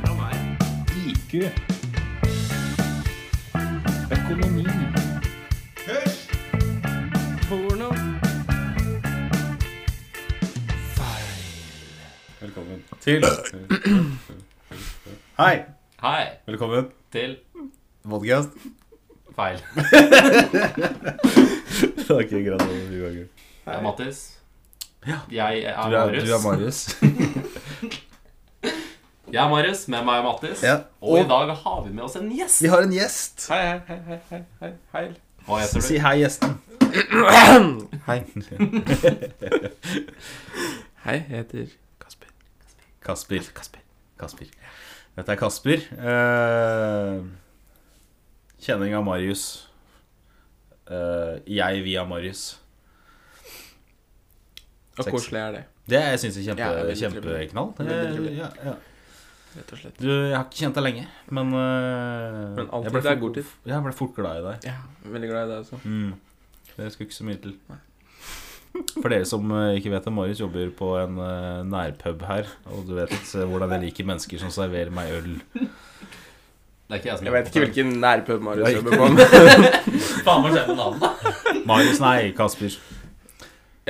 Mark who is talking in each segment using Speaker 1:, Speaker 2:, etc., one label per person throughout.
Speaker 1: IQ. Økonomi.
Speaker 2: Porno.
Speaker 1: Velkommen til Hei!
Speaker 2: Hei
Speaker 1: Velkommen
Speaker 2: til
Speaker 1: til podcast.
Speaker 2: feil.
Speaker 1: Ok, greit. Du er,
Speaker 2: Jeg er Mattis. Jeg er
Speaker 1: du er
Speaker 2: Marius.
Speaker 1: Marius.
Speaker 2: Jeg er Marius, med meg er Mattis.
Speaker 1: Ja.
Speaker 2: Og i
Speaker 1: Og-
Speaker 2: dag har vi med oss en gjest.
Speaker 1: Vi har en gjest.
Speaker 3: Hei, hei, hei, hei, hei, hei, hei.
Speaker 2: Hva heter
Speaker 1: Si
Speaker 2: du?
Speaker 1: hei, gjesten.
Speaker 3: Hei. hei, jeg heter Kasper.
Speaker 1: Kasper.
Speaker 3: Kasper.
Speaker 1: Kasper. Dette er Kasper. Eh, kjenning av Marius. Eh, jeg via Marius.
Speaker 3: Og
Speaker 1: Sexy.
Speaker 3: koselig er det,
Speaker 1: Det jeg syns er kjempe,
Speaker 3: Ja, det er veldig
Speaker 1: kjempeknall. Det-
Speaker 3: Veldig trivelig.
Speaker 1: Ja, ja.
Speaker 3: rett og slett.
Speaker 1: Du, jeg har ikke kjent deg lenge, men eh,
Speaker 3: Men alltid
Speaker 1: jeg ble
Speaker 3: det er
Speaker 1: fort-
Speaker 3: god tid.
Speaker 1: Jeg ble fort glad i deg.
Speaker 3: Ja, veldig glad i deg også.
Speaker 1: Mm. Det skulle ikke så mye til.
Speaker 3: Nei.
Speaker 1: For dere som eh, ikke vet det, Marius jobber på en eh, nærpub her. Og du vet eh, hvordan jeg liker mennesker som serverer meg øl.
Speaker 2: Det er ikke jeg som
Speaker 3: Jeg vet ikke hvilken nærpub Marius
Speaker 1: Nei.
Speaker 3: jobber på, men
Speaker 2: Faen meg skjedde med navnet.
Speaker 1: Marius, nei, Kasper.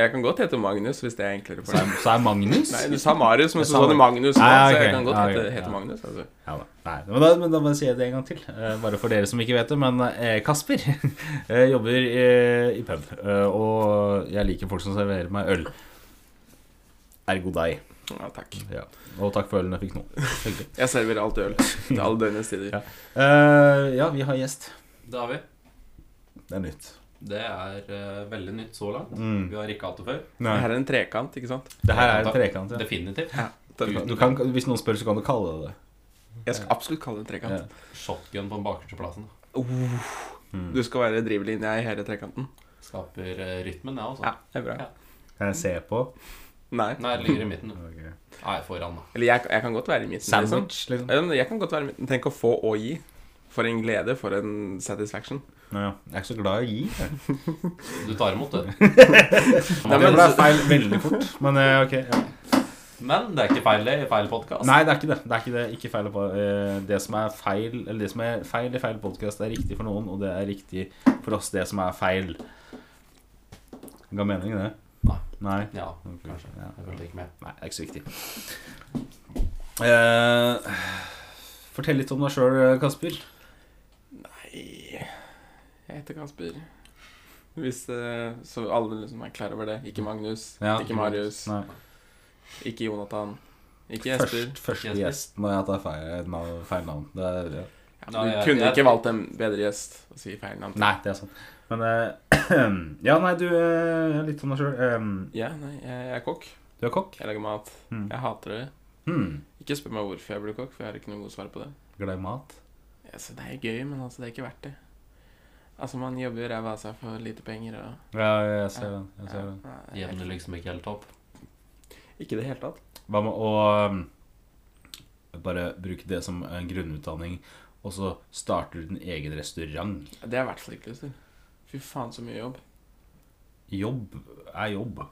Speaker 3: jeg kan godt hete Magnus hvis det er enklere for
Speaker 1: Så
Speaker 3: deg.
Speaker 1: er, så er Magnus?
Speaker 3: Nei, du sa Marius, men
Speaker 1: Jeg
Speaker 3: så
Speaker 1: sa
Speaker 3: sa du Magnus, nå,
Speaker 1: Nei,
Speaker 3: så
Speaker 1: ok,
Speaker 3: jeg kan godt
Speaker 1: ja,
Speaker 3: hete,
Speaker 1: ok, ja.
Speaker 3: hete Magnus. Altså.
Speaker 1: Ja da. Nei, men da, men da bare sier jeg det en gang til. eh, Bare for dere som ikke vet det. Men eh, Kasper eh, jobber eh, i pub. eh, Og jeg liker folk som serverer meg øl. Ergo deg.
Speaker 3: Ja, takk.
Speaker 1: Ja. Og takk for ølen jeg fikk nå. Hyggelig.
Speaker 3: Jeg serverer alt øl til alle døgnets tider.
Speaker 1: Ja. Eh, ja, vi har gjest.
Speaker 2: Det har vi.
Speaker 1: Det er nytt.
Speaker 2: Det er eh, veldig nytt så langt.
Speaker 1: Mm.
Speaker 2: Vi har ikke hatt det før.
Speaker 1: Nei.
Speaker 3: Her er en trekant, ikke sant?
Speaker 1: Det her er en trekant. Ja.
Speaker 2: Definitivt.
Speaker 1: Du kan, hvis noen spør, så kan du kalle det det.
Speaker 3: Jeg skal absolutt kalle det en
Speaker 1: Ja.
Speaker 3: trekant.
Speaker 2: Shotgun på den bakerste plassen.
Speaker 1: Mm.
Speaker 3: Du skal være drivlinja i hele trekanten.
Speaker 2: Skaper eh, rytmen, jeg, altså.
Speaker 3: Ja, det er bra.
Speaker 2: Ja.
Speaker 1: Kan jeg se på?
Speaker 3: Nei.
Speaker 2: Nei, det ligger i midten.
Speaker 1: Ok.
Speaker 2: Nei, foran, da.
Speaker 3: Eller jeg, jeg kan godt være i midten. Liksom.
Speaker 1: Sandwich, liksom.
Speaker 3: Ja, men Jeg kan godt være i midten. Tenk å få og gi. For en glede, for en satisfaction.
Speaker 1: Nei, ja. Jeg er ikke så glad i å gi. jeg.
Speaker 2: Du tar imot, du.
Speaker 1: Det
Speaker 3: men-
Speaker 1: ble feil veldig fort. Men eh, ok. Ja.
Speaker 2: Men det er ikke feil det i feil podkast.
Speaker 1: Nei, det er ikke det. Det er ikke det. Ikke feil, på- eh, det som er feil Eller det som er feil i feil podkast, er riktig for noen, og det er riktig for oss, det som er feil. Ga mening, det?
Speaker 2: Nei.
Speaker 1: Nei.
Speaker 2: Ja,
Speaker 1: Ok,
Speaker 2: kanskje.
Speaker 1: ja.
Speaker 2: Jeg følte ikke med.
Speaker 1: Nei, det er ikke så viktig. Eh, fortell litt om deg sjøl, Kasper.
Speaker 3: Nei Jeg heter Kasper. Hvis eh, Så alle liksom er klar over det. Ikke Magnus,
Speaker 1: Ja.
Speaker 3: ikke Marius,
Speaker 1: Nei.
Speaker 3: ikke Jonathan, ikke Jesper.
Speaker 1: Først, første
Speaker 2: Jesper.
Speaker 1: gjesten og jeg tar feil navn. Feil navn. Det er, ja.
Speaker 3: Ja,
Speaker 2: Nei,
Speaker 3: men du
Speaker 2: jeg-
Speaker 3: kunne
Speaker 2: jeg-
Speaker 3: ikke valgt en bedre gjest å si feil navn. til.
Speaker 1: Nei, det er sant. Men eh, Ja, nei, du eh, Litt om deg sjøl.
Speaker 3: Ja, nei, jeg, jeg er kokk.
Speaker 1: du er kokk.
Speaker 3: Jeg lager mat.
Speaker 1: Mm.
Speaker 3: Jeg hater det.
Speaker 1: Hmm.
Speaker 3: Ikke spør meg hvorfor jeg ble kokk, for jeg har ikke noe godt svar på det.
Speaker 1: Glad i mat.
Speaker 3: Altså, det er gøy, men altså, det er ikke verdt det. Altså, man jobber ræva av seg for lite penger og
Speaker 1: Ja, jeg ser den. Jeg ser den.
Speaker 3: Ja, nei,
Speaker 2: Jevner liksom ikke helt opp.
Speaker 3: Ikke i det hele tatt.
Speaker 1: Hva med å um, bare bruke det som en grunnutdanning, og så starter du din egen restaurant?
Speaker 3: Det har jeg i hvert fall ikke lyst til. Fy faen, så mye jobb.
Speaker 1: Jobb er jobb,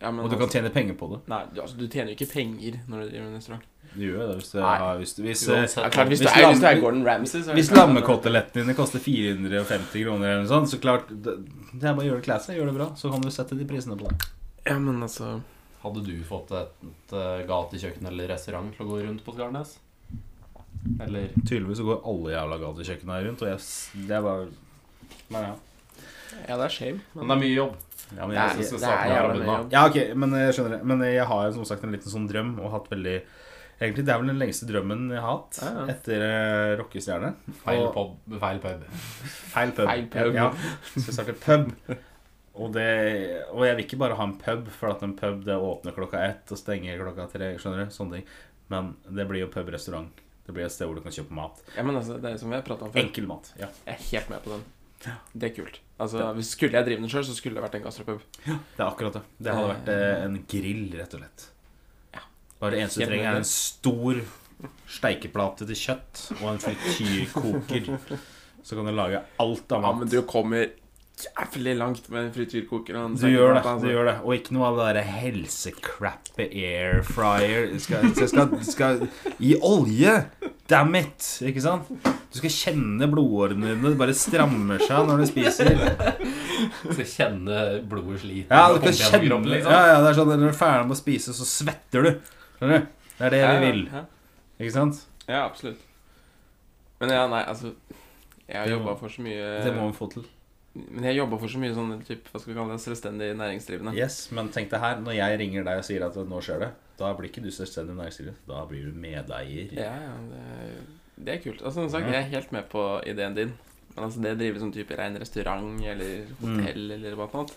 Speaker 3: Ja, men altså-
Speaker 1: og du kan tjene penger på det.
Speaker 3: Nei, du, altså, du tjener jo ikke penger når du driver med restaurant.
Speaker 1: Du gjør jo det hvis du
Speaker 3: Nei.
Speaker 1: har hvis, hvis,
Speaker 2: Uansett.
Speaker 1: eh,
Speaker 3: Ja, klart, hvis,
Speaker 1: Hvis
Speaker 3: du er, hvis du
Speaker 1: lam-
Speaker 3: er Gordon Ramsay, så
Speaker 1: hvis lammekotelettene dine koster 450 kroner eller noe sånt, så klart Det det er bare å gjøre det classy, gjør det bra, så kan du sette de prisene på det.
Speaker 3: Ja, men altså
Speaker 2: Hadde du fått et, et eh, gatekjøkken eller restaurant til å gå rundt på Skarnes? Eller
Speaker 1: Tydeligvis så går alle jævla gatekjøkkenene her rundt, og jeg s- Det er bare Nei, ja.
Speaker 3: Ja, det er shame.
Speaker 2: Men det er mye jobb.
Speaker 1: Ja, men
Speaker 3: Det er-
Speaker 1: jeg synes
Speaker 3: det
Speaker 1: starter
Speaker 3: er
Speaker 1: her
Speaker 3: jævla
Speaker 1: og begynner.
Speaker 3: mye jobb.
Speaker 1: Ja, ok, men jeg skjønner det. Men jeg har jo som sagt en liten sånn drøm, og hatt veldig Egentlig, det er vel den lengste drømmen jeg har hatt
Speaker 3: Ja, ja.
Speaker 1: etter eh, rockestjerne.
Speaker 2: Feil
Speaker 1: Og-
Speaker 2: pub. Feil pub.
Speaker 1: Feil pub.
Speaker 3: Feil pub.
Speaker 1: Ja, så jeg starter pub. Og, det, og jeg vil ikke bare ha en pub, for at en pub det åpner klokka ett og stenger klokka tre. skjønner du, sånne ting. Men det blir jo pubrestaurant. Det blir et sted hvor du kan kjøpe mat.
Speaker 3: Ja, men altså, Det er som vi har prata om før.
Speaker 1: Enkel mat. ja.
Speaker 3: Jeg er helt med på den. Det er kult. Altså, hvis Skulle jeg drive den sjøl, så skulle det vært en gastropub.
Speaker 1: Det er akkurat det. Det hadde vært eh, en grill, rett og slett.
Speaker 3: Ja.
Speaker 1: Bare det eneste du
Speaker 3: Helt
Speaker 1: trenger,
Speaker 3: enig.
Speaker 1: er en stor steikeplate til kjøtt og en frityrkoker. Så kan du lage alt av
Speaker 3: Ja,
Speaker 1: mat.
Speaker 3: men du kommer jævlig langt med frityrkokeren.
Speaker 1: Du gjør det. du gjør det Og ikke noe av det derre helsecrappet air fryer. Du skal, du skal, du skal I olje! Damn it! Ikke sant? Du skal kjenne blodårene dine. Det bare strammer seg når du spiser.
Speaker 2: Du skal kjenne blodet sliter
Speaker 1: Ja, du
Speaker 2: og
Speaker 1: skal
Speaker 2: pumpe gjennom
Speaker 1: kjenne
Speaker 2: kroppen, liksom.
Speaker 1: ja, ja, det er sånn Når du er ferdig med å spise, så svetter du. Skjønner du? Det er det vi vil. Ikke sant?
Speaker 3: Ja, absolutt. Men ja, nei, altså Jeg har
Speaker 1: Det må-
Speaker 3: jobba for så mye
Speaker 1: Det må vi få til.
Speaker 3: Men jeg jobba for så mye sånn typ, Hva skal vi kalle det? Selvstendig næringsdrivende.
Speaker 1: Yes, Men tenk deg her, når jeg ringer deg og sier at nå skjer det, da blir ikke du selvstendig næringsdriver. Da blir du medeier.
Speaker 3: Ja, ja, det, det er kult. Altså, som sagt, jeg er helt med på ideen din. Men altså, det å drive som type rein restaurant eller
Speaker 1: Mm.
Speaker 3: hotell eller hva annet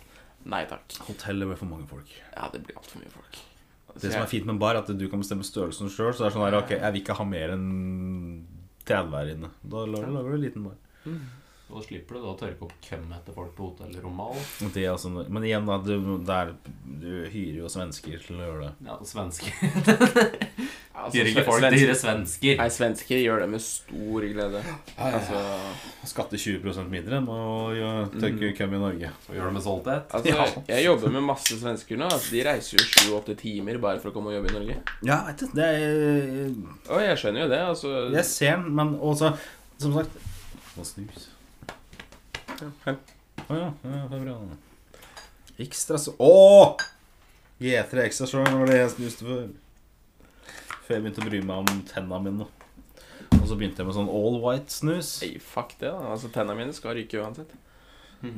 Speaker 3: Nei takk.
Speaker 1: Hotellet med for mange folk.
Speaker 3: Ja, det blir altfor mye folk. Altså,
Speaker 1: Det som er
Speaker 3: jeg-
Speaker 1: fint med en bar, er at du kan bestemme størrelsen sjøl. Så det er sånn her, ok, jeg vil ikke ha mer enn 30 her inne. Da lager, lager du en liten bar.
Speaker 3: Mm.
Speaker 2: Og slipper du da å tørke opp køm etter folk på hotellrommet. og alt.
Speaker 1: Og Det er altså, men igjen, da. Du, det er- du hyrer jo svensker til å gjøre det.
Speaker 2: Ja, svensker.
Speaker 3: altså,
Speaker 2: Hyrer ikke
Speaker 3: sve-
Speaker 2: folk,
Speaker 3: svensk-
Speaker 2: de hyrer svensker.
Speaker 3: Nei, svensker gjør det med stor glede. Altså,
Speaker 1: Skatte 20 mindre enn å gjøre- tørke køm i Norge.
Speaker 2: Og gjør det med stolthet.
Speaker 3: altså jeg jobber med masse svensker nå. Altså, de reiser jo sju-åtte timer bare for å komme og jobbe i Norge.
Speaker 1: Ja, vet du, det er
Speaker 3: Og jeg skjønner jo det. Altså,
Speaker 1: Jeg ser den, men også Som sagt Må snus.
Speaker 3: hei.
Speaker 1: Å ja. ja det er bra. Ekstra så Å! G3 ekstra strong var det jeg snuste før. Før jeg begynte å bry meg om tenna mine. Og så begynte jeg med sånn all white snus.
Speaker 3: Nei, fuck det, da. Altså, Tenna mine skal ryke uansett.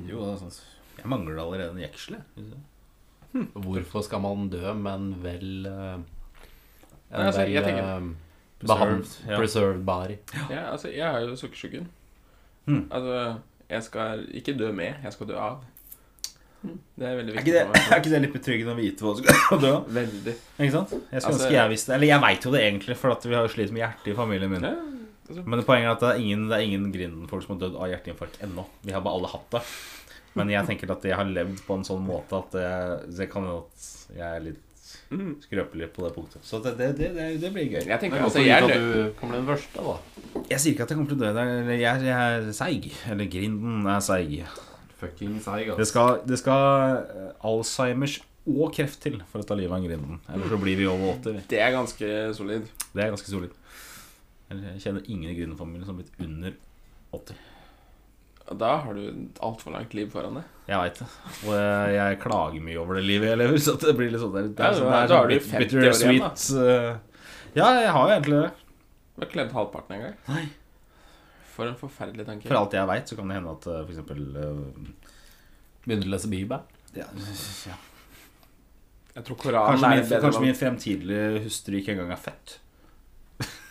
Speaker 1: Jo, det er sant. Jeg mangler allerede en jeksel, jeg.
Speaker 2: Hvorfor skal man dø, men vel eh, En
Speaker 3: Nei, altså,
Speaker 2: vel
Speaker 3: jeg tenker-
Speaker 2: eh,
Speaker 1: Preserved,
Speaker 2: behand-
Speaker 1: ja.
Speaker 2: Preserved body.
Speaker 3: Ja, altså, jeg er jo sukkersyken.
Speaker 1: Hmm.
Speaker 3: Altså, jeg skal ikke dø med, jeg skal dø av. Det er veldig
Speaker 1: Er
Speaker 3: viktig
Speaker 1: ikke, det,
Speaker 3: for
Speaker 1: er
Speaker 3: meg.
Speaker 1: ikke det litt betryggende å vite hva du skal dø av?
Speaker 3: Veldig.
Speaker 1: Ikke sant? Jeg skulle
Speaker 3: Altså-
Speaker 1: ønske jeg visste Eller jeg veit jo det egentlig, for at vi har jo slitt med hjertet i familien min.
Speaker 3: Ja, altså.
Speaker 1: Men poenget er at det er ingen, det er ingen Grinden-folk som har dødd av hjerteinfarkt ennå. Vi har bare alle hatt det. Men jeg tenker at jeg har levd på en sånn måte at jeg, det kan jo at jeg er litt
Speaker 3: Mm.
Speaker 1: skrøpelig på det punktet. Så det, det, det, det- det blir gøy.
Speaker 3: Jeg tenker
Speaker 2: Men
Speaker 3: altså,
Speaker 2: også
Speaker 3: jeg er
Speaker 2: ut at
Speaker 3: nø-
Speaker 2: du kan bli den første, da.
Speaker 1: Jeg sier ikke at jeg kommer til å dø der. eller Jeg, jeg er seig. Eller Grinden er seig.
Speaker 2: Fucking seig,
Speaker 1: Det skal, det skal eh, Alzheimers og kreft til for å ta livet av en Grinden. Eller så blir vi over 80. vi.
Speaker 3: Det er ganske solid.
Speaker 1: Det er ganske solid. Eller Jeg kjenner ingen i Grinden-familien som har blitt under 80.
Speaker 3: Og Da har du et altfor langt liv foran deg.
Speaker 1: Jeg veit det. Og jeg, jeg klager mye over det livet jeg lever, så det blir litt sånn der. Det
Speaker 3: Ja,
Speaker 1: er sånn,
Speaker 3: da-
Speaker 1: det er
Speaker 3: da har
Speaker 1: sånn
Speaker 3: du
Speaker 1: bit-
Speaker 3: 50
Speaker 1: bitter
Speaker 3: år igjen, da.
Speaker 1: sweet eh, Ja, jeg har jo egentlig det.
Speaker 3: Du har kledd halvparten en gang.
Speaker 1: Nei.
Speaker 3: For en forferdelig tanke.
Speaker 1: For alt jeg veit, så kan det hende at eh, f.eks.
Speaker 2: Begynner å lese Bibelen.
Speaker 1: Ja, eh, ja.
Speaker 3: Jeg tror Koranen
Speaker 1: Kanskje,
Speaker 3: er
Speaker 1: min,
Speaker 3: et bedre
Speaker 1: kanskje min fremtidige hustru ikke engang er født.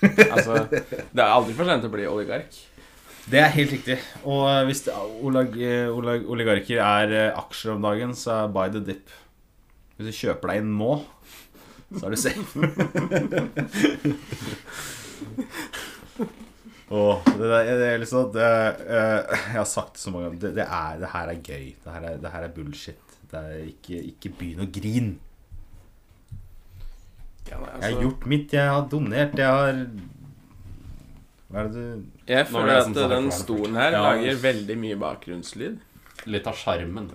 Speaker 3: valg. Altså, det er aldri for sent å bli oligark.
Speaker 1: Det er helt riktig. Og eh, hvis det, olag, eh, olag, oligarker er eh, aksjer om dagen, så er buy the dip. Hvis du kjøper deg inn nå, så er du safe. Åh, det, der- det er liksom det, eh, Jeg har sagt det så mange ganger. Det, det, er, det her er gøy. Det her er, det her er bullshit. Det er ikke, ikke begynn å grine.
Speaker 3: Ja, nei, altså-
Speaker 1: Jeg har gjort mitt. Jeg har donert. Jeg har Hva er det du
Speaker 3: jeg
Speaker 2: Nå ble
Speaker 3: føler
Speaker 2: jeg som
Speaker 3: at
Speaker 2: sa det
Speaker 3: den
Speaker 2: for meg.
Speaker 3: stolen her
Speaker 1: Ja.
Speaker 3: lager veldig mye bakgrunnslyd.
Speaker 2: Litt av sjarmen.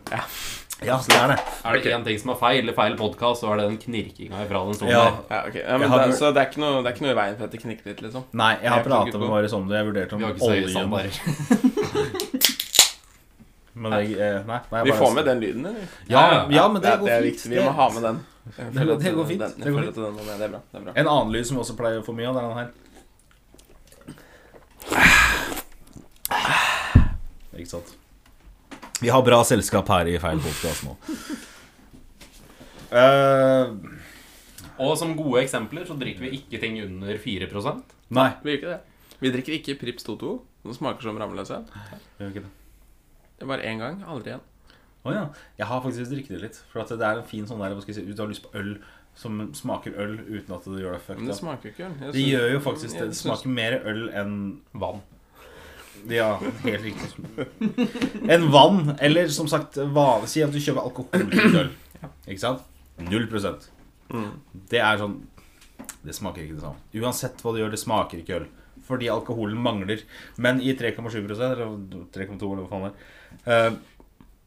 Speaker 1: Ja, så det er det.
Speaker 2: Er det én ting som er feil i feil podkast, så er det den knirkinga ifra den stolen
Speaker 1: Ja,
Speaker 2: der.
Speaker 3: Ja, ok. Ja,
Speaker 1: Jeg
Speaker 3: men
Speaker 1: har
Speaker 3: det,
Speaker 1: hørt-
Speaker 3: så det er, ikke noe, det er ikke noe i veien for at det knikker litt, liksom.
Speaker 1: Nei, jeg
Speaker 3: Jeg
Speaker 1: har
Speaker 3: kan
Speaker 1: prata
Speaker 3: ikke
Speaker 1: med
Speaker 3: gå.
Speaker 1: Marius om det. Jeg vurderte
Speaker 2: Vi har
Speaker 1: om
Speaker 2: ikke så høye
Speaker 1: oljen
Speaker 2: standarder.
Speaker 1: Men jeg, eh, nei, nei,
Speaker 3: Vi
Speaker 1: bare-
Speaker 3: får med den lyden, eller?
Speaker 1: Ja, ja, men det,
Speaker 3: Ja,
Speaker 1: går
Speaker 3: er
Speaker 1: fint.
Speaker 3: viktig. Vi må ha med den. Jeg føler at
Speaker 1: det
Speaker 3: den-
Speaker 1: går fint.
Speaker 3: Den,
Speaker 1: Det
Speaker 3: jeg
Speaker 1: går
Speaker 3: føler at den må med. Det er bra. Det er bra.
Speaker 1: En annen lyd som vi også pleier å få mye av, det er den her. Ikke sant. Vi har bra selskap her i feil podkast nå. Eh,
Speaker 2: Og som gode eksempler så drikker vi ikke ting under 4
Speaker 1: nei.
Speaker 3: Vi gjør ikke det. Vi drikker ikke Prips 22. Den smaker som rammeløse.
Speaker 1: Gjør ikke det.
Speaker 3: Det er bare én gang, aldri igjen.
Speaker 1: Å ja. Jeg har faktisk drikket det litt. For at det er en fin sånn der hva skal jeg si, Du har lyst på øl som smaker øl uten at du gjør det fucked
Speaker 3: Men det
Speaker 1: up.
Speaker 3: smaker jo ikke øl. Jeg
Speaker 1: Det
Speaker 3: synes-
Speaker 1: gjør jo faktisk det.
Speaker 3: jeg
Speaker 1: Det
Speaker 3: synes-
Speaker 1: smaker mer øl enn
Speaker 2: Vann.
Speaker 1: Ja, helt riktig. En vann, eller som sagt vanlig Si at du kjøper alkoholfritt øl. Ikke sant? Null prosent.
Speaker 3: Mm.
Speaker 1: Det er sånn Det smaker ikke det samme. Uansett hva du gjør, det smaker ikke øl. Fordi alkoholen mangler. Men i 3,7 eller 3,2 eller hva faen det er, eh,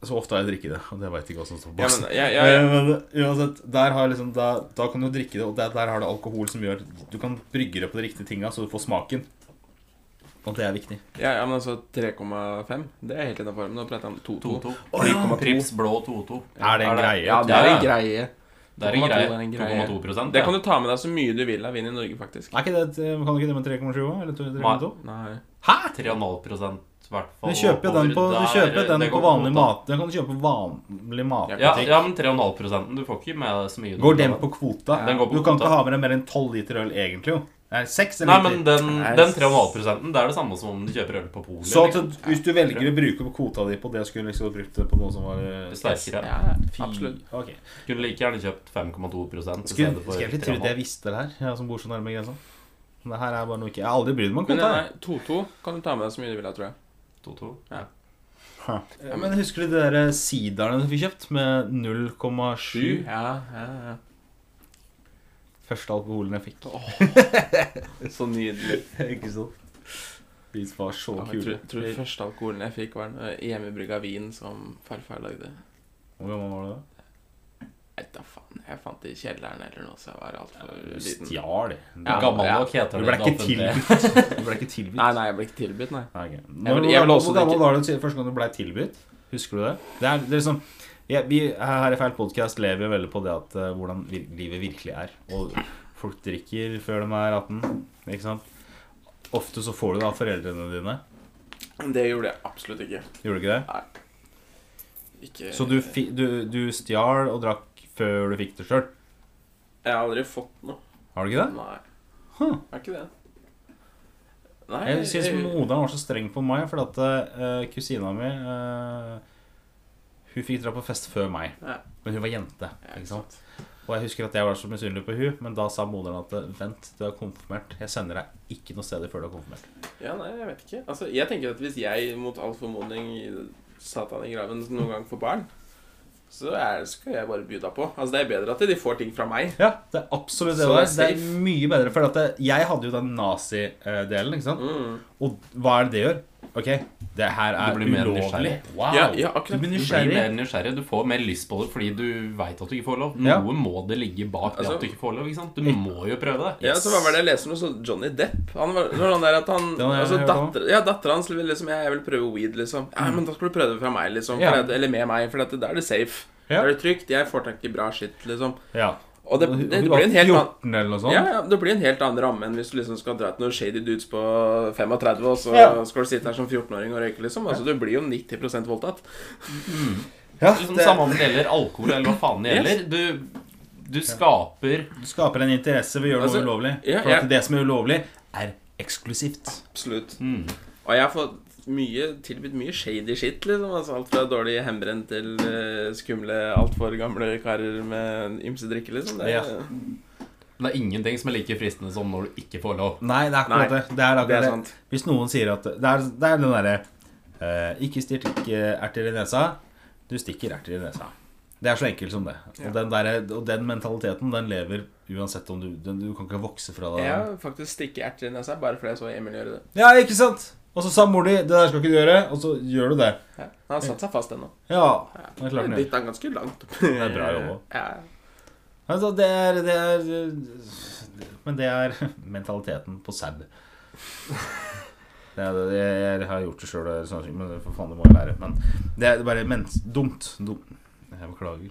Speaker 1: så ofte har jeg drikket det, og jeg veit ikke hva som står på
Speaker 3: Ja,
Speaker 1: boksen.
Speaker 3: men, ja, ja, ja.
Speaker 1: Eh, Men uansett, der har liksom, da, da kan du drikke det, og der, der har det alkohol som gjør Du kan brygge det på de riktige tinga, så du får smaken. Og det er viktig.
Speaker 3: Ja, ja, men altså 3,5 Det er helt innafor. Men nå prater jeg om 2,2.
Speaker 2: 2-2.
Speaker 1: Å, ja.
Speaker 2: Prips blå 2-2.
Speaker 1: Er det en greie?
Speaker 3: Ja, det er en
Speaker 2: Ja,
Speaker 3: greie.
Speaker 2: Det er en
Speaker 3: 2,2
Speaker 2: greie.
Speaker 3: er en greie.
Speaker 2: 2,2 prosent,
Speaker 3: Det kan
Speaker 2: ja.
Speaker 3: du ta med deg så mye du vil av vin i Norge, faktisk.
Speaker 1: Er ikke det, et- eh, kan du ikke det med 3,7 også, Eller 3,2?
Speaker 3: Nei.
Speaker 1: Hæ?!
Speaker 2: 3,5 i hvert fall.
Speaker 1: Du kjøper jo den på, du
Speaker 2: Der-
Speaker 1: kjøper den
Speaker 2: det går
Speaker 1: på vanlig
Speaker 2: kvoten.
Speaker 1: mat. Den kan du kjøpe på vanlig
Speaker 2: Ja,
Speaker 1: matbutikk.
Speaker 2: ja, men 3,5 Du får ikke med deg så mye.
Speaker 1: Går den på kvota?
Speaker 2: Den går på
Speaker 1: du kan
Speaker 2: kvota.
Speaker 1: ikke ha med deg mer enn 12 liter øl egentlig, jo. Det er 6
Speaker 2: Nei,
Speaker 1: eller
Speaker 2: men
Speaker 1: 90.
Speaker 2: den,
Speaker 3: Nei,
Speaker 2: den 3,5 det er det samme som om du kjøper øl på polet.
Speaker 1: Så
Speaker 2: liksom.
Speaker 1: at, hvis du velger å bruke på kvota di på det, skulle du liksom brukt det på noe som var eh,
Speaker 2: liksom. Sterkere.
Speaker 3: Ja,
Speaker 1: fy-
Speaker 3: absolutt.
Speaker 1: Ok.
Speaker 2: Skulle like gjerne kjøpt 5,2 i
Speaker 1: Skulle
Speaker 2: stedet for
Speaker 1: skulle egentlig trodd
Speaker 2: 3,5.
Speaker 1: jeg visste det her, jeg som bor så nærme grensa. Men det her er bare noe ikke Jeg har aldri brydd meg om
Speaker 3: Men
Speaker 1: kvota.
Speaker 3: nei, 2,2 kan du ta med deg så mye du vil av, tror jeg.
Speaker 2: 2,2.
Speaker 3: Ja.
Speaker 1: jeg. Ja, men husker du de der eh, siderne du fikk kjøpt med 0,7?
Speaker 3: Ja, ja, ja.
Speaker 1: Første alkoholen jeg fikk.
Speaker 3: Så nydelig.
Speaker 1: ikke sant? De var så
Speaker 3: Ja, jeg tror,
Speaker 1: kule.
Speaker 3: tror første alkoholen jeg fikk, var en eh, hjemmebrygga vin som farfar lagde.
Speaker 1: Hvor gammel var du da?
Speaker 3: Nei, da faen. Jeg fant det i kjelleren eller noe, så jeg var altfor
Speaker 1: Du
Speaker 3: liten.
Speaker 1: stjal. Du
Speaker 3: Ja,
Speaker 2: Gammel
Speaker 3: ja.
Speaker 2: nok heter
Speaker 1: Du
Speaker 2: det.
Speaker 1: ble ikke
Speaker 2: det offentlige.
Speaker 1: tilbudt. Du ble ikke tilbudt.
Speaker 3: Nei, nei, jeg ble ikke tilbudt, nei.
Speaker 1: Ah, ok.
Speaker 3: Jeg
Speaker 1: Når,
Speaker 3: vil- jeg vil også
Speaker 1: hvor gammel
Speaker 3: drikke-
Speaker 1: var du til- første gang du blei tilbudt? Husker du det? Det er, det er liksom ja, vi, Her i Feil podkast lever jo veldig på det at eh, hvordan vir livet virkelig er. Og folk drikker før de er 18, ikke sant? Ofte så får du det av foreldrene dine.
Speaker 3: Det gjorde jeg absolutt ikke.
Speaker 1: Gjorde du ikke det?
Speaker 3: ikke
Speaker 1: Så du, fi, du, du stjal og drakk før du fikk det sjøl.
Speaker 3: Jeg har aldri fått noe.
Speaker 1: Har du ikke det?
Speaker 3: Nei.
Speaker 1: Huh.
Speaker 3: Er ikke det. Nei,
Speaker 1: Jeg syns
Speaker 3: jeg-
Speaker 1: moderen var så streng på meg, fordi at eh, kusina mi eh, Hun fikk dra på fest før meg.
Speaker 3: Ja.
Speaker 1: Men hun var jente.
Speaker 3: Ja,
Speaker 1: ikke sant? Og jeg husker at jeg var så misunnelig på hun, men da sa moderen at vent, du er konfirmert. Jeg sender deg ikke noe sted før du er konfirmert.
Speaker 3: Ja, nei, jeg vet ikke. Altså, jeg tenker at hvis jeg mot all formodning satan i graven noen gang får barn, så er, skal jeg bare by deg på. Altså, det er bedre at de får ting fra meg.
Speaker 1: Ja, det er absolutt det
Speaker 3: Så
Speaker 1: det er.
Speaker 3: det
Speaker 1: Det
Speaker 3: er
Speaker 1: er mye bedre, for at det- jeg hadde jo den nazidelen, ikke sant.
Speaker 3: Mm.
Speaker 1: Og hva er det det gjør? Ok, det her er
Speaker 2: Du blir mer
Speaker 1: ulovlig.
Speaker 2: nysgjerrig.
Speaker 1: Wow.
Speaker 3: Ja, ja, akkurat.
Speaker 1: Du blir
Speaker 2: Du blir mer
Speaker 1: nysgjerrig.
Speaker 2: nysgjerrig. Du får mer lyst på det fordi du veit at du ikke får lov. Noe
Speaker 1: Ja.
Speaker 2: må det ligge bak det
Speaker 3: Altså-
Speaker 2: at du ikke får lov. ikke sant? Du må jo prøve det.
Speaker 3: Ja, så hva var det jeg leste om? Så Johnny Depp Han var, det var han der at han
Speaker 1: Den har jeg
Speaker 3: altså,
Speaker 1: hørt om. Mm.
Speaker 3: datter, Ja, dattera hans ville liksom Ja, jeg vil prøve weed, liksom. Ja, men da skal du prøve det fra meg, liksom.
Speaker 1: Ja.
Speaker 3: For at- eller med meg, for at da er det safe.
Speaker 1: Ja.
Speaker 3: Da er det trygt. Jeg får tak i bra shit, liksom.
Speaker 1: Ja.
Speaker 3: Og det,
Speaker 1: Og hun-
Speaker 3: det
Speaker 1: hun
Speaker 3: blir en helt
Speaker 1: var
Speaker 3: annen
Speaker 1: 14 eller noe sånt.
Speaker 3: Ja, ja, det blir en helt annen ramme enn hvis du liksom skal dra til noen shady dudes på 35, og så
Speaker 1: Ja.
Speaker 3: skal du sitte her som 14-åring og røyke, liksom. Altså, du blir jo 90 voldtatt.
Speaker 1: Ja,
Speaker 2: Liksom,
Speaker 1: det-
Speaker 2: Samme om det gjelder alkohol eller hva faen det gjelder. Du, du skaper
Speaker 1: du skaper en interesse ved å gjøre noe
Speaker 3: Altså,
Speaker 1: ulovlig.
Speaker 3: ja,
Speaker 1: For at
Speaker 3: jeg-
Speaker 1: det som er ulovlig, er eksklusivt.
Speaker 3: Absolutt.
Speaker 2: mm,
Speaker 3: Og jeg har fått mye, tilbudt mye shady shit, liksom. Altså, alt fra dårlig hjemmebrent til eh, skumle, altfor gamle karer med ymse drikke, liksom. Det,
Speaker 1: Ja.
Speaker 2: Det er ingenting som er like fristende som når du ikke får lov.
Speaker 1: Nei, det er akkurat
Speaker 3: Nei,
Speaker 1: det. Det er
Speaker 3: det
Speaker 1: akkurat det.
Speaker 3: er sant.
Speaker 1: Hvis noen sier at Det er, det er den derre eh, Ikke stikk erter i nesa. Du stikker erter i nesa. Det er så enkelt som det. Og,
Speaker 3: Ja.
Speaker 1: den, derre- og den mentaliteten, den lever uansett om du den, Du kan ikke vokse fra det.
Speaker 3: Jeg har faktisk stikke erter i nesa bare fordi jeg så Emil gjøre det.
Speaker 1: Ja, ikke sant? Og så sa mor di 'Det der skal ikke du gjøre', og så gjør du det.
Speaker 3: Ja. Han har satt seg fast ennå.
Speaker 1: Ja.
Speaker 3: Ja.
Speaker 1: Det er klart den gjør.
Speaker 3: Dytta han ganske langt opp.
Speaker 1: Det er bra jobba.
Speaker 3: Ja.
Speaker 1: Altså, det er, det er Men det er mentaliteten på sau. Det er, det- jeg, jeg har gjort det sjøl, men for faen, det må jeg lære. Men det er bare men, dumt. Dum. Jeg beklager.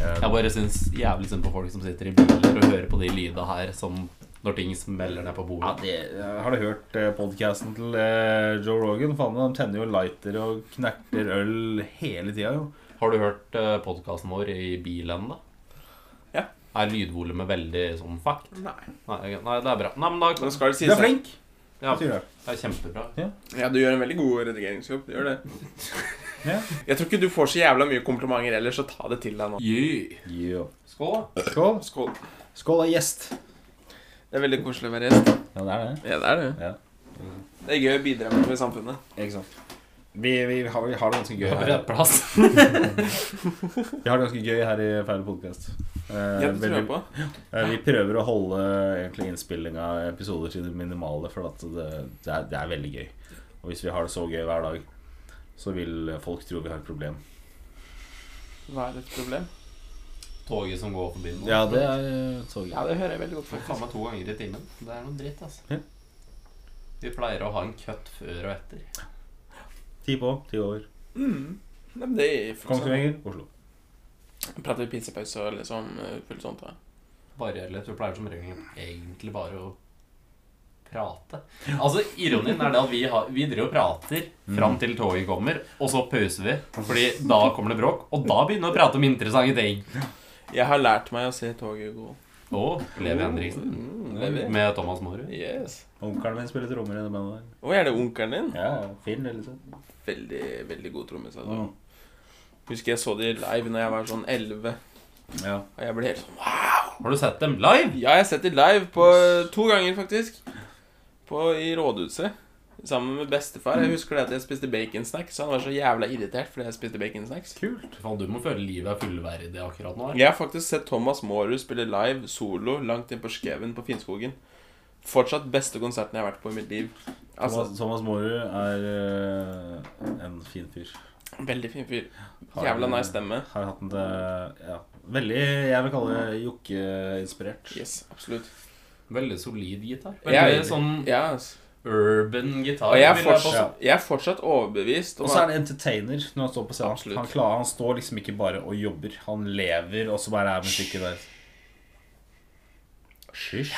Speaker 1: Eh,
Speaker 2: Jeg bare syns jævlig synd på folk som sitter i biler og hører på de lyda her som når ting smeller ned på
Speaker 1: ja,
Speaker 2: bordet.
Speaker 1: det, har du hørt podkasten til eh, Joe Rogan? Faen, han tenner jo lighter og knerter øl hele tida, jo.
Speaker 2: Har du hørt podkasten vår i bilen, da?
Speaker 3: Ja.
Speaker 2: Er lydvolumet veldig sånn fuck?
Speaker 3: Nei.
Speaker 2: Nei, ok. nei, det er bra. Nei, men da
Speaker 3: Nå skal det
Speaker 1: Du er
Speaker 3: sies at-
Speaker 1: flink,
Speaker 2: ja,
Speaker 1: sier du.
Speaker 2: Det er kjempebra.
Speaker 3: Ja, du gjør en veldig god redigeringsjobb. Du gjør det.
Speaker 1: Ja.
Speaker 3: Jeg tror ikke du får så jævla mye komplimenter ellers, så ta det til deg nå.
Speaker 2: Yeah.
Speaker 1: Yeah.
Speaker 2: Skål, da.
Speaker 1: Skål.
Speaker 3: Skål.
Speaker 1: Skål og gjest.
Speaker 3: Det er veldig koselig å være gjest.
Speaker 1: Ja, det er det.
Speaker 3: Ja, det er det.
Speaker 1: Ja.
Speaker 3: Det er gøy å bidra med noe i samfunnet.
Speaker 1: Ikke sant. Vi, vi, har, vi har det ganske gøy
Speaker 2: På
Speaker 1: her.
Speaker 2: rett plass.
Speaker 1: Vi har det ganske gøy her i Feil podkast.
Speaker 3: Ja, det tror jeg på.
Speaker 1: eh, vi prøver å holde egentlig innspilling av episoder til det minimale, for at det, det, er, det er veldig gøy. Og hvis vi har det så gøy hver dag, så vil folk tro vi har et problem.
Speaker 3: Hva er et problem?
Speaker 2: Toget som går forbi nå.
Speaker 1: Ja, det er eh,
Speaker 3: Ja,
Speaker 1: toget.
Speaker 3: det hører jeg veldig godt,
Speaker 2: Får faen
Speaker 3: faktisk.
Speaker 2: meg to ganger i timen. Det er noe dritt, altså.
Speaker 1: Ja.
Speaker 2: Vi pleier å ha en cut før og etter.
Speaker 1: Ti på, ti over.
Speaker 3: Mm. Nei, men det er
Speaker 1: Kongsvinger, Oslo.
Speaker 3: Prater vi pinsepause og liksom eh, fullt sånt, da?
Speaker 2: Bare, eller vi pleier som regel egentlig bare å prate. Altså, ironien er det at vi, har, vi driver og prater
Speaker 3: Mm.
Speaker 2: fram til toget kommer, og så pauser vi, fordi da kommer det bråk, og da begynner vi å prate om interessante ting.
Speaker 3: Jeg har lært meg å se toget gå.
Speaker 2: Og Levi Henriksen
Speaker 3: Mm, lever.
Speaker 2: med Thomas Morud.
Speaker 3: Yes.
Speaker 1: Onkelen min spiller trommer i det bandet der.
Speaker 3: Å, er det onkelen din?
Speaker 1: Ja, ja, fin eller sånn.
Speaker 3: Veldig, veldig god trommis. Altså.
Speaker 1: Mm.
Speaker 3: Husker jeg så de live når jeg var sånn 11,
Speaker 1: Ja.
Speaker 3: og jeg ble helt sånn
Speaker 2: Har du sett dem live?
Speaker 3: Ja, jeg har sett de live på to ganger, faktisk. På, I rådhuset. Sammen med bestefar.
Speaker 1: Mm.
Speaker 3: Jeg husker det at jeg spiste baconsnacks. Han var så jævla irritert fordi jeg spiste baconsnacks.
Speaker 1: Kult.
Speaker 2: Faen, du må føle livet er fullverdig akkurat nå. her.
Speaker 3: Jeg har faktisk sett Thomas Maarud spille live solo langt inn på skauen på Finnskogen. Fortsatt beste konserten jeg har vært på i mitt liv. Altså,
Speaker 1: Thomas, Thomas Morud er eh, en fin fyr.
Speaker 3: Veldig fin fyr.
Speaker 1: Har- eh,
Speaker 3: Jævla nice stemme.
Speaker 1: Har hatt en det ja. Veldig, jeg vil kalle det jokkeinspirert.
Speaker 3: Yes, absolutt.
Speaker 2: Veldig solid gitar. Veldig
Speaker 3: Jeg-
Speaker 2: sånn
Speaker 3: Ja, altså.
Speaker 2: urban gitar.
Speaker 3: Og jeg er,
Speaker 2: vil jeg påstå.
Speaker 3: fortsatt, jeg er fortsatt overbevist
Speaker 1: altså. Og
Speaker 3: om
Speaker 1: så er
Speaker 3: at
Speaker 1: det entertainer når han står på scenen.
Speaker 3: Absolutt.
Speaker 1: Han, klarer, han står liksom ikke bare og jobber. Han lever, og så bare er musikken der. Hysj.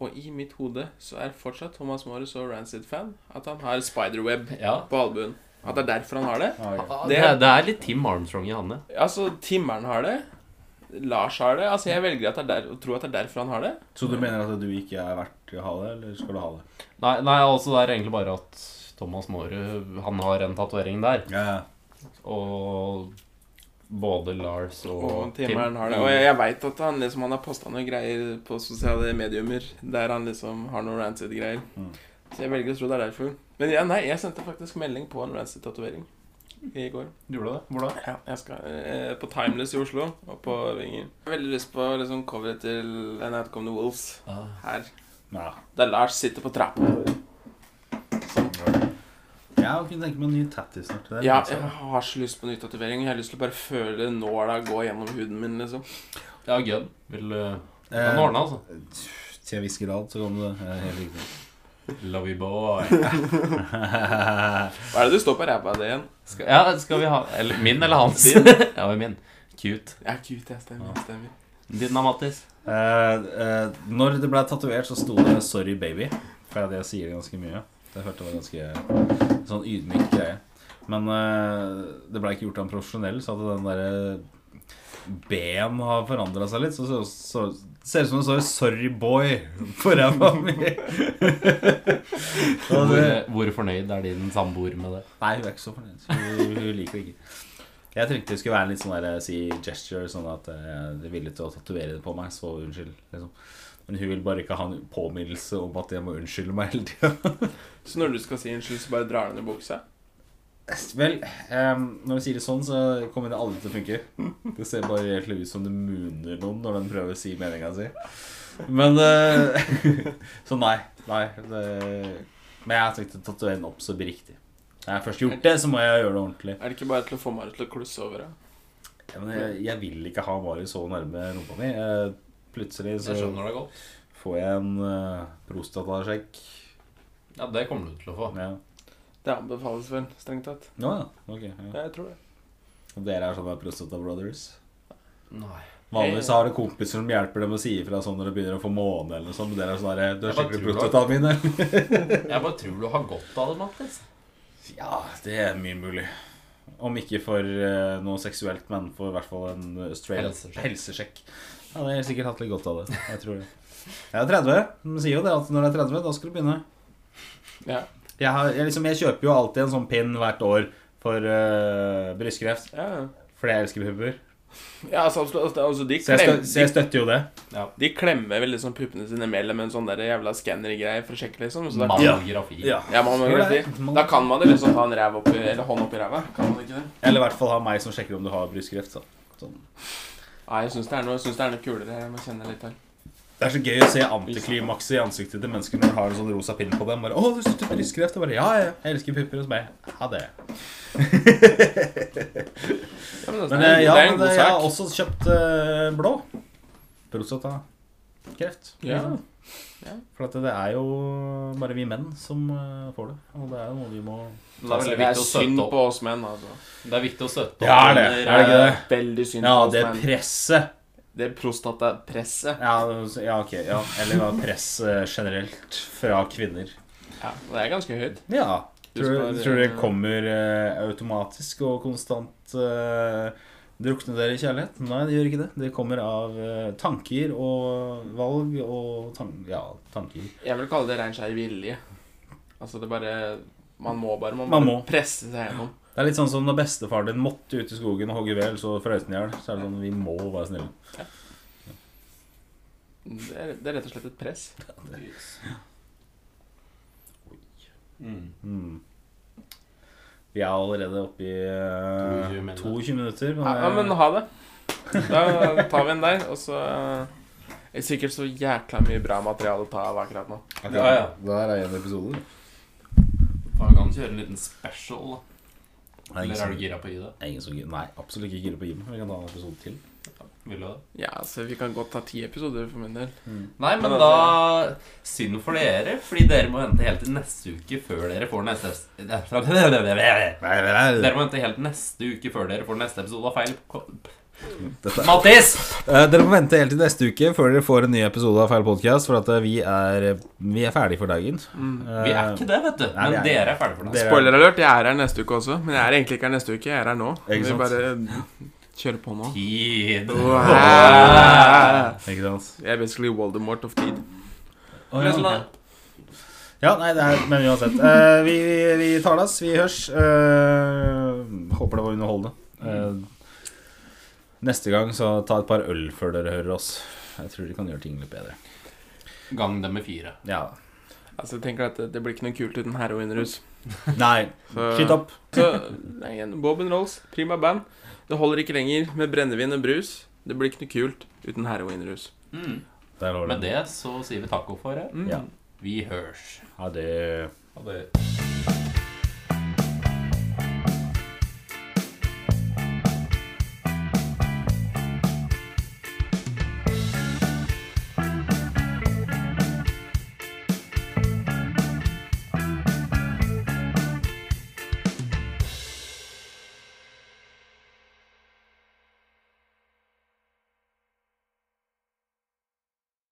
Speaker 3: Og i mitt hode så er fortsatt Thomas Maarud så Rancid-fan at han har spiderweb
Speaker 2: ja.
Speaker 3: på albuen. At det er derfor han har det.
Speaker 1: Ja, ok.
Speaker 2: Det, er- det er litt Tim Armstrong i Hanne.
Speaker 3: Altså, Timmeren har det. Lars har det. Altså, jeg velger at det er der, å tro at det er derfor han har det.
Speaker 1: Så du mener at du ikke er verdt å ha det, eller skal du ha det?
Speaker 2: Nei, nei, altså det er egentlig bare at Thomas Maarud han har en tatovering der.
Speaker 1: Ja, ja.
Speaker 2: Og både Lars og, Mm.
Speaker 3: Og Timmeren har det. Og jeg, jeg veit at han liksom Han har posta noen greier på sosiale mediumer der han liksom har noen Rancid-greier.
Speaker 1: Mm.
Speaker 3: Så jeg velger å tro det er derfor. Men ja, nei, jeg sendte faktisk melding på en Rancid-tatovering i går.
Speaker 2: Du Gjorde det? Hvor da?
Speaker 3: Ja, jeg skal eh, på Timeless i Oslo og på Vinger. Jeg har Veldig lyst på liksom coveret til An Outcome the Wolves her.
Speaker 1: Ja.
Speaker 3: Der Lars sitter på trappa.
Speaker 1: Jeg kunne tenke meg en ny tattis snart. Det er
Speaker 3: Ja,
Speaker 1: litt
Speaker 3: jeg
Speaker 1: sånn.
Speaker 3: har så lyst på ny tatovering. Jeg har lyst til å bare føle nåla gå gjennom huden min, liksom.
Speaker 2: Ja, Gunn. Vil du
Speaker 1: Eh,
Speaker 2: Kan ordne, altså.
Speaker 1: Til en viss grad så kan du det. Eh, Helt riktig.
Speaker 2: Love you, boy.
Speaker 3: Hva er det du står på ræva di igjen?
Speaker 2: Skal, ja, skal vi ha eller, Min eller hans? Din? ja, men min. Cute.
Speaker 3: Jeg er cute, jeg stemmer. jeg stemmer.
Speaker 2: Din da, Mattis?
Speaker 1: Eh, eh, når det ble tatovert, så sto det 'Sorry, baby'. For at jeg sier det ganske mye. Jeg hørte det var ganske sånn ydmyk greie. Men eh, det ble ikke gjort av en profesjonell, så at den derre B-en har forandra seg litt. Så, så, så ser det ut som det står 'Sorry, boy' på ræva mi. Og
Speaker 2: Hvor, eh,
Speaker 1: det-
Speaker 2: hvor fornøyd er din samboer med det?
Speaker 1: Nei, hun er ikke så fornøyd. så Hun, hun liker det ikke. Jeg tenkte det skulle være en litt sånn der, si gesture, sånn at eh, jeg er villig til å tatovere det på meg, så unnskyld. liksom. Men hun vil bare ikke ha en påminnelse om at jeg må unnskylde meg hele tida.
Speaker 3: Så når du skal si unnskyld, så bare drar du ned buksa?
Speaker 1: Vel, em, når vi sier det sånn, så kommer det aldri til å funke. Det ser bare egentlig ut som det muner noen når den prøver å si meninga si. Men eh, Så nei. Nei. Det, men jeg har tenkt å tatovere den opp så det blir riktig. Når jeg har først gjort det, så må jeg gjøre det ordentlig.
Speaker 3: Er det ikke bare til å få Marit til å klusse over deg?
Speaker 1: Ja, men jeg, jeg vil ikke ha Marius så nærme rumpa mi. Eh, Plutselig så
Speaker 2: Jeg skjønner det godt.
Speaker 1: får jeg en uh, prostatasjekk.
Speaker 2: Ja, det kommer du til å få.
Speaker 1: Ja.
Speaker 3: Det anbefales vel, strengt tatt.
Speaker 1: Nå ja, ok. Ja.
Speaker 3: Ja, jeg tror det.
Speaker 1: Og dere er sånne prostata brothers?
Speaker 2: Nei.
Speaker 1: Vanligvis har du kompiser som hjelper dem å si ifra sånn når du begynner å få måne eller noe sånt. men Dere er sånn der, du har
Speaker 2: Jeg bare
Speaker 1: skikkelig
Speaker 2: tror
Speaker 1: prostata mine.
Speaker 2: Jeg bare tror du har godt av det, Mattis.
Speaker 1: Ja, det er mye mulig. Om ikke for eh, noe seksuelt, men for i hvert fall en eh, straight
Speaker 2: Helsesjekk.
Speaker 1: helsesjekk. Ja, det har jeg sikkert hatt litt godt av det. Jeg tror det. Jeg er 30. De sier jo det at når du er 30, da skal du begynne.
Speaker 3: Ja.
Speaker 1: Jeg, har, jeg, liksom, jeg kjøper jo alltid en sånn pin hvert år for eh, brystkreft.
Speaker 3: Ja,
Speaker 1: Fordi jeg elsker pupper.
Speaker 3: ja altså, absolutt. altså, altså de,
Speaker 1: Så jeg,
Speaker 3: klem,
Speaker 1: stø, så jeg støtter jo det.
Speaker 2: Ja.
Speaker 3: de, de klemmer vel liksom puppene sine mellom en sånn der jævla skannergreie for å sjekke, liksom. Så da,
Speaker 1: Ja.
Speaker 2: Mammografi.
Speaker 3: ja, man må jo si. da kan man jo liksom ta en ræv oppi, eller hånd oppi ræva. Kan man ikke det?
Speaker 1: Eller i hvert fall ha meg som sjekker om du har brystkreft. Så. Sånn.
Speaker 3: Nei, jeg syns det, er noe- jeg synes det er noe kulere her. Jeg må kjenne litt her.
Speaker 1: Det er så gøy å se antiklimaks i ansiktet til mennesker når de har en sånn rosa pinn på dem. Bare, 'Å, du støtter brystkreft?' Og bare 'Ja, ja, jeg elsker pupper.' Og så bare Ha det.
Speaker 3: Ja, men, altså,
Speaker 1: Men
Speaker 3: det er
Speaker 1: eh,
Speaker 3: en-
Speaker 1: ja,
Speaker 3: det er en
Speaker 1: men,
Speaker 3: god
Speaker 1: eh, jeg
Speaker 3: sak.
Speaker 1: har også kjøpt eh, blå. Prostatakreft.
Speaker 3: Ja.
Speaker 1: For at det er jo bare vi menn som eh, får det. Og det er jo noe vi må
Speaker 2: Men det er
Speaker 3: det
Speaker 2: veldig
Speaker 3: er
Speaker 2: viktig å
Speaker 3: synd
Speaker 2: støtte opp.
Speaker 3: på oss menn, altså.
Speaker 2: Det er viktig å støtte opp
Speaker 1: Ja, det er det.
Speaker 2: under,
Speaker 1: Er det ikke det?
Speaker 3: Veldig synd
Speaker 1: Ja,
Speaker 3: på oss
Speaker 1: det
Speaker 3: menn.
Speaker 1: presset.
Speaker 3: Det prostatapresset.
Speaker 1: Ja, så- ja, ok. Ja. Eller ja, press eh, generelt fra kvinner.
Speaker 3: Ja, det er ganske høyt.
Speaker 1: Ja.
Speaker 3: Du
Speaker 1: Tror
Speaker 3: spør,
Speaker 1: du, tror du det
Speaker 3: eh,
Speaker 1: kommer eh, automatisk og konstant eh, drukne dere i kjærlighet? Nei, det gjør ikke det. Det kommer av eh, tanker og valg og tan ja, tanker.
Speaker 3: Jeg vil kalle det rein skeiv vilje. Altså, det bare Man må bare. Man,
Speaker 1: Man
Speaker 3: bare
Speaker 1: må.
Speaker 3: presse seg gjennom.
Speaker 1: Det er litt sånn som når bestefaren din måtte ut i skogen og hogge vel, så frøs den i hjel. Så er det sånn Vi må være snille.
Speaker 3: Det er, det er rett og slett et press.
Speaker 2: Mm.
Speaker 1: Mm. Vi er allerede oppe i eh,
Speaker 2: 22 minutter.
Speaker 1: 22 minutter. eh,
Speaker 3: Ja, ja, men ha det. Da tar vi en der, og så eh, er det sikkert så jækla mye bra materiale å ta av akkurat nå.
Speaker 1: Ok,
Speaker 2: Ja, ja.
Speaker 1: Der er én episode.
Speaker 2: Da kan du kjøre en liten special. da.
Speaker 1: Det er ingen
Speaker 2: Eller er
Speaker 1: som-
Speaker 2: du gira på å gi det?
Speaker 1: det er ingen som gir- Nei, absolutt ikke gira på Jim. Vi kan ta en episode til.
Speaker 2: Vil du det?
Speaker 3: Ja, så vi kan godt ta ti episoder for min del.
Speaker 2: Nei, men
Speaker 3: Men
Speaker 2: da Synd for dere, fordi dere må vente helt til neste uke før dere får neste Dere
Speaker 1: Nei, nei, nei.
Speaker 2: må vente helt neste uke før dere får neste episode av Feil ko-
Speaker 1: Dette er-
Speaker 2: Mattis!
Speaker 1: Eh, Dere må vente helt til neste uke før dere får en ny episode av Feil podkast, for at eh, vi er, vi er ferdig for dagen.
Speaker 3: Mm.
Speaker 2: Vi er ikke det, vet du.
Speaker 1: Eh, Nei,
Speaker 2: Men
Speaker 1: vi er-
Speaker 2: dere er ferdige for det.
Speaker 1: Dere-
Speaker 3: Spoiler alert, jeg er her neste uke også. Men jeg er egentlig ikke her neste uke, jeg er her nå.
Speaker 1: Ikke
Speaker 3: Vi
Speaker 1: sant?
Speaker 3: bare kjører på nå.
Speaker 2: Tid.
Speaker 3: Wow.
Speaker 1: Ikke sant?
Speaker 3: Jeg er basically Voldemort of tid.
Speaker 2: Men sånn, da-
Speaker 1: Ja, nei, det er, men uansett. Eh, vi, vi, vi tar det, ass. Vi hørs. Eh, håper det var underholdende. Eh, neste gang så ta et par øl før dere hører oss. Jeg tror de kan gjøre ting litt bedre.
Speaker 2: Gang dem med fire.
Speaker 1: Ja.
Speaker 3: Altså, jeg tenker at det, det blir ikke noe kult uten heroinrus.
Speaker 1: Nei,
Speaker 3: Så-
Speaker 1: skyt opp.
Speaker 3: Så nei, igjen, Bob and Rolls, prima band. Det holder ikke lenger med brennevin og brus. Det blir ikke noe kult uten heroinrus.
Speaker 2: Mm.
Speaker 1: Der har du
Speaker 2: Med det så sier vi takko for det.
Speaker 3: Mm.
Speaker 1: Ja.
Speaker 2: Vi hørs.
Speaker 1: Ha det.
Speaker 2: Ha det.